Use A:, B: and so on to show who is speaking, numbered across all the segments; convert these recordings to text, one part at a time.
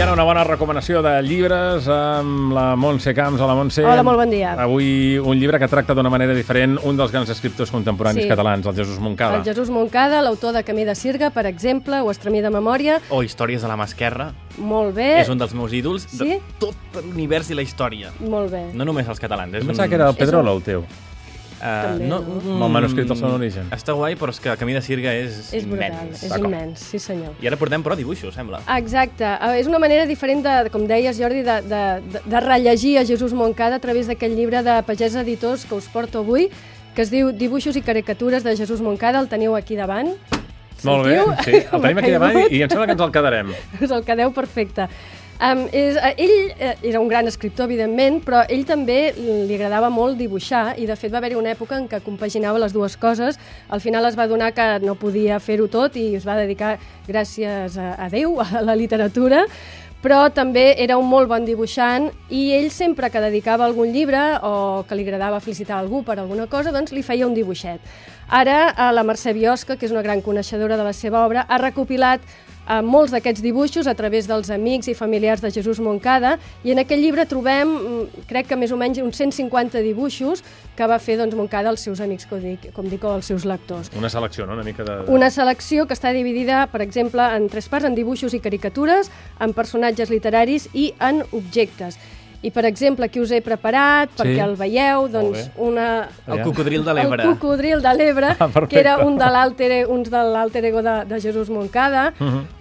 A: ara una bona recomanació de llibres amb la Montse Camps. Hola, Montse.
B: Hola, molt bon dia.
A: Avui un llibre que tracta d'una manera diferent un dels grans escriptors contemporanis
B: Sí.
A: catalans, el Jesús Moncada.
B: El Jesús Moncada, l'autor de Camí de Sirga, per exemple, o Estremí de memòria,
C: O Històries de la mà esquerra.
B: molt
C: Eh.
B: bé,
C: És un dels meus ídols
B: Sí?
C: de tot l'univers i la història.
B: molt bé.
C: No només els catalans.
A: Em
C: És un...
A: pensava que era el
B: És un-
A: Pedrolo, el teu.
C: Uh,
B: També,
C: no,
B: no?
C: mm,
A: Amb el manuscrit del seu origen.
C: Està guai, però és que Camí de Sirga és,
B: És brutal,
C: immens.
B: és
A: D'acord.
B: immens, sí senyor.
C: I ara portem, però, dibuixos, sembla.
A: Ah,
B: Exacte. Eh, És una manera diferent, de, com deies, Jordi, de, de, de- de rellegir a Jesús Moncada a través d'aquest llibre de Pagès Editors que us porto avui, que es diu Dibuixos i caricatures de Jesús Moncada, el teniu aquí davant.
A: Molt bé,
B: Sentiu?
A: sí. El tenim
B: M'ha
A: aquí davant
B: caigut.
A: i em sembla que ens el quedarem.
B: Us el quedeu perfecte. Um, és, eh, ell eh, era un gran escriptor, evidentment, però ell també li agradava molt dibuixar i, de fet, va haver-hi una època en què compaginava les dues coses. Al final es va donar que no podia fer-ho tot i es va dedicar, gràcies a, a Déu, a la literatura, però també era un molt bon dibuixant i ell sempre que dedicava algun llibre o que li agradava felicitar algú per alguna cosa, doncs li feia un dibuixet. Ara eh, la Mercè Biosca, que és una gran coneixedora de la seva obra, ha recopilat eh, molts d'aquests dibuixos a través dels amics i familiars de Jesús Moncada i en aquest llibre trobem, mm, crec que més o menys, uns 150 dibuixos que va fer doncs, Moncada als seus amics, com dic, com dic, o als seus lectors.
A: Una selecció, no? Una mica de...
B: Una selecció que està dividida, per exemple, en tres parts, en dibuixos i caricatures, en personatges literaris i en objectes. I, per exemple, aquí us he preparat,
A: Sí.
B: perquè el veieu, doncs,
A: bé.
B: una...
C: El
A: Ja.
C: cocodril de l'Ebre.
B: El cocodril de l'Ebre,
A: Ah, perfecte.
B: que era un de l'alter e- uns de l'alter ego de, de Jesús Moncada,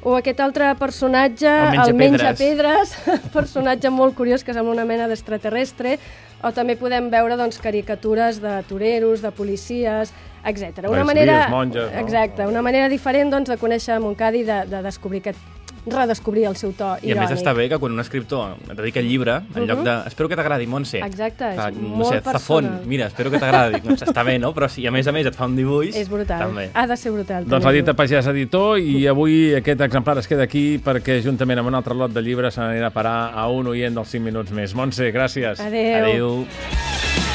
B: o aquest altre personatge,
C: Mhm. El
B: Menjapedres, personatge molt curiós que sembla una mena d'extraterrestre, o també podem veure doncs, caricatures de toreros, de policies, etc. Una
A: Res,
B: manera,
A: vies, monges, no?
B: exacte, una manera diferent doncs, de conèixer Moncada i de, de descobrir aquest, redescobrir el seu to irònic. Uh-huh.
C: I a més està bé que quan un escriptor et dedica el llibre, en lloc de... Espero que t'agradi, Montse.
B: Exacte, és
C: Fa, no
B: molt
C: sé, Zafón,
B: personal.
C: mira, espero que t'agradi. doncs està bé, no? Però si a més a més et fa un dibuix...
B: És brutal.
C: També.
B: Ha de ser brutal.
A: Doncs
B: també
A: l'ha
B: és
A: dit a Pagès Editor i avui aquest exemplar es queda aquí perquè juntament amb un altre lot de llibres se n'anirà a parar a un oient dels 5 minuts més. Montse, gràcies.
B: Adéu.
C: Adéu.